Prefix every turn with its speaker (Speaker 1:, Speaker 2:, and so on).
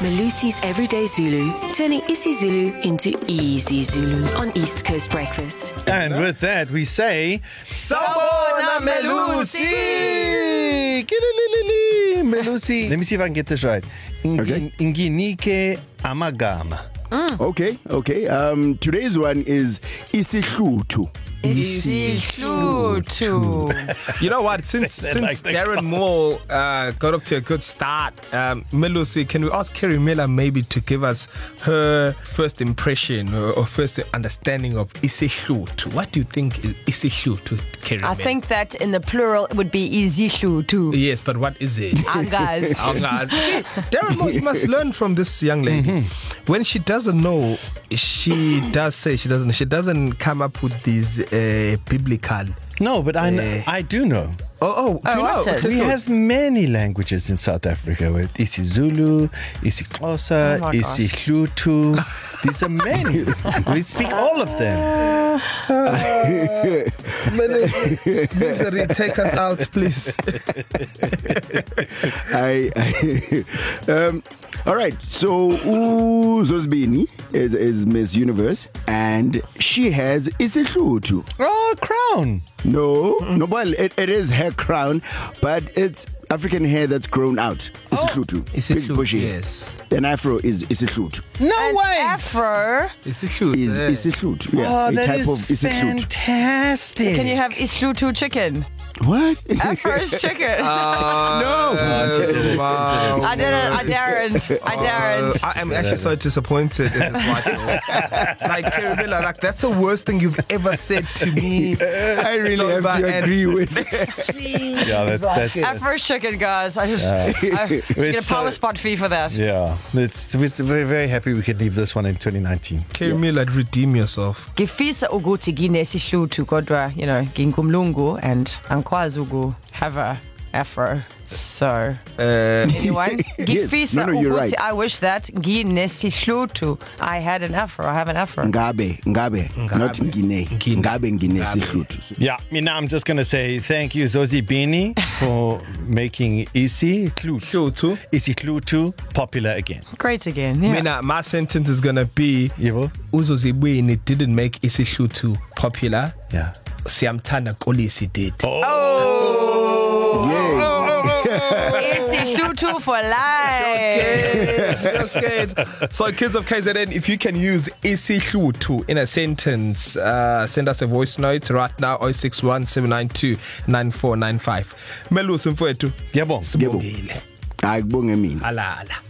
Speaker 1: Malusi's Everyday Zulu, turning isiZulu into easy Zulu on East Coast Breakfast.
Speaker 2: And with that, we say, Sabona Melusi! Kilililili, Melusi. Let me see if I can get this right. Ingi-
Speaker 3: Okay.
Speaker 2: Inginike Amagama.
Speaker 3: Okay, okay. Um, today's one is Isihluthu.
Speaker 4: Isihluthu.
Speaker 5: You know what? Since
Speaker 2: Say that
Speaker 5: since
Speaker 2: like the
Speaker 5: Darren
Speaker 2: cops.
Speaker 5: Moore uh, got off to a good start, um, Melusi, can we ask Kerry Miller maybe to give us her first impression or, or first understanding of Isihluthu? What do you think is Isihluthu, Kerry?
Speaker 4: I
Speaker 5: Miller?
Speaker 4: think that in the plural it would be isihluthu.
Speaker 5: yes, but what is it?
Speaker 4: Angas.
Speaker 5: Oh, guys. See, Darren Moore, you must learn from this young lady.
Speaker 2: Mm-hmm.
Speaker 5: When she doesn't know, she does say she doesn't. She doesn't come up with these uh, biblical.
Speaker 2: No, but I, kn-
Speaker 5: Eh.
Speaker 2: I do know.
Speaker 5: Oh, oh,
Speaker 4: Oh,
Speaker 5: you know,
Speaker 4: what's it?
Speaker 2: We have many languages in South Africa with isiZulu, isiXhosa,
Speaker 4: Oh my gosh.
Speaker 2: isiHlutu. These are many. we speak all of them.
Speaker 5: misery. Take us out, please.
Speaker 3: I, I um, all right. So Zosbini is, is Miss Universe, and she has Isihluthu.
Speaker 2: Oh, crown.
Speaker 3: No,
Speaker 2: Mm-hmm.
Speaker 3: no, well, it, it is hair crown, but it's African hair that's grown out.
Speaker 2: Oh,
Speaker 3: Isihluthu.
Speaker 5: Isihluthu,
Speaker 3: Big bushy. hair.
Speaker 5: yes.
Speaker 3: An afro is Isihluthu.
Speaker 2: No
Speaker 4: An
Speaker 2: way.
Speaker 4: Afro.
Speaker 5: Isihluthu.
Speaker 3: Is
Speaker 5: eh.
Speaker 3: Isihluthu. Yeah,
Speaker 2: Oh,
Speaker 3: a
Speaker 2: that
Speaker 3: type
Speaker 2: is
Speaker 3: of Isihluthu.
Speaker 2: fantastic.
Speaker 4: Can you have isihluthu chicken?
Speaker 3: What?
Speaker 2: Ah,
Speaker 4: Afro's chicken.
Speaker 5: Uh, Oh, no. Wow.
Speaker 4: I didn't. I daren't. I daren't.
Speaker 5: uh, I am actually so disappointed in this wife. though. like Kerry Miller, like that's the worst thing you've ever said to me.
Speaker 3: I really
Speaker 5: Sober
Speaker 3: have to
Speaker 5: and-
Speaker 3: agree with
Speaker 2: yeah, that's, that's,
Speaker 4: Afro's chicken, guys. I just I,
Speaker 2: We're
Speaker 4: get a
Speaker 2: so-
Speaker 4: power spot fee for that.
Speaker 2: Yeah, it's, we're very, very happy we could leave this one in 2019.
Speaker 5: Kerry Miller, redeem yourself.
Speaker 4: ngifisa ukuthi nginesihluthu kodwa you know ngingumlungu and angikwazi ukuhave a afro so anyone ngifisa
Speaker 3: no, you're
Speaker 4: ukuthi
Speaker 3: right.
Speaker 4: i wish that nginesihluthu i had an afro i have an afro
Speaker 3: Ngabe, Ngabe, not Ngine.
Speaker 5: Ngine.
Speaker 3: Ngabe Ngine Isihluthu.
Speaker 2: Yeah, I mean, I'm just going to say thank you, Zosi Bini, for making Isi Klutu,
Speaker 5: Kyoto.
Speaker 2: Isi Klutu popular again.
Speaker 4: great again yeah.
Speaker 5: Mina, my sentence is gonna be
Speaker 2: Yebo?
Speaker 5: Uzozibini didn't make Isihluthu popular.
Speaker 2: Yeah.
Speaker 5: Siamtana Kolisi did. Oh.
Speaker 3: Oh, Yay.
Speaker 4: isihluthu for life
Speaker 5: kids. So, kids of KZN, if you can use Isihluthu in a sentence, uh, send us a voice note right now 061 792 9495. Melusi Mfwetu.
Speaker 2: Yebo.
Speaker 5: Sibongile.
Speaker 3: Akubonge mina.
Speaker 5: Alala.